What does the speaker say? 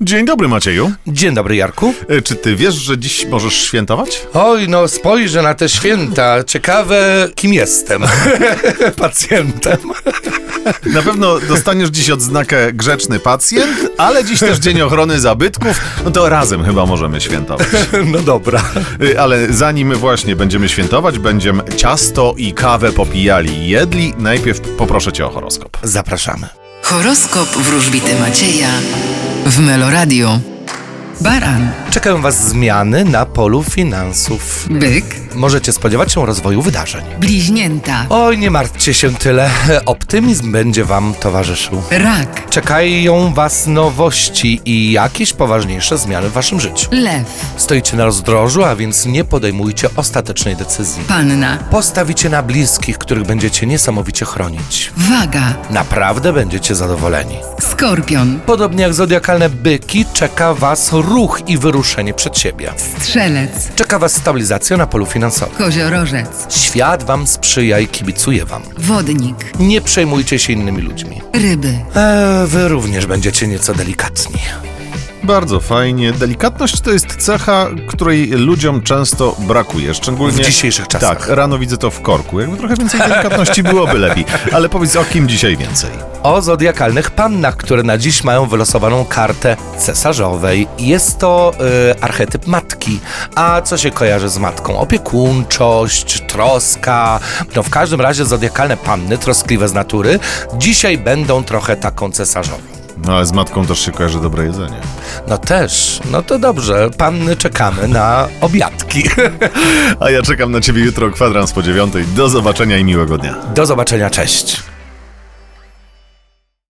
Dzień dobry, Macieju. Dzień dobry, Jarku. E, Czy ty wiesz, że dziś możesz świętować? Oj, no spojrzę na te święta. Ciekawe, kim jestem. Pacjentem. Na pewno dostaniesz dziś odznakę grzeczny pacjent, ale dziś też Dzień Ochrony Zabytków, no to razem chyba możemy świętować. No dobra. E, Ale zanim właśnie będziemy świętować, będziemy ciasto i kawę popijali i jedli. Najpierw poproszę cię o horoskop. Zapraszamy. Horoskop wróżbity Macieja w Meloradio. Baran, Czekają Was zmiany na polu finansów. byk, Możecie spodziewać się rozwoju wydarzeń. bliźnięta, Oj, nie martwcie się tyle. Optymizm będzie Wam towarzyszył. rak, Czekają Was nowości i jakieś poważniejsze zmiany w Waszym życiu. lew, Stoicie na rozdrożu, a więc nie podejmujcie ostatecznej decyzji. panna, Postawicie na bliskich, których będziecie niesamowicie chronić. waga, Naprawdę będziecie zadowoleni. skorpion, Podobnie jak zodiakalne byki, czeka Was ruch i wyruszenie przed siebie. strzelec, Czeka Was stabilizacja na polu finansowym. koziorożec, Świat Wam sprzyja i kibicuje Wam. wodnik, Nie przejmujcie się innymi ludźmi. ryby. Eee, wy również będziecie nieco delikatni. Bardzo fajnie. Delikatność to jest cecha, której ludziom często brakuje. Szczególnie W dzisiejszych czasach. Tak, rano widzę to w korku. Jakby trochę więcej delikatności byłoby lepiej. Ale powiedz, o kim dzisiaj więcej? O zodiakalnych pannach, które na dziś mają wylosowaną kartę cesarzowej. Jest to e, archetyp matki. A co się kojarzy z matką? Opiekuńczość, troska. No w każdym razie zodiakalne panny, troskliwe z natury, dzisiaj będą trochę taką cesarzową. No ale z matką też się kojarzy dobre jedzenie. No też, no to dobrze, panny czekamy na obiadki. A ja czekam na ciebie jutro o kwadrans po dziewiątej. Do zobaczenia i miłego dnia. Do zobaczenia, cześć.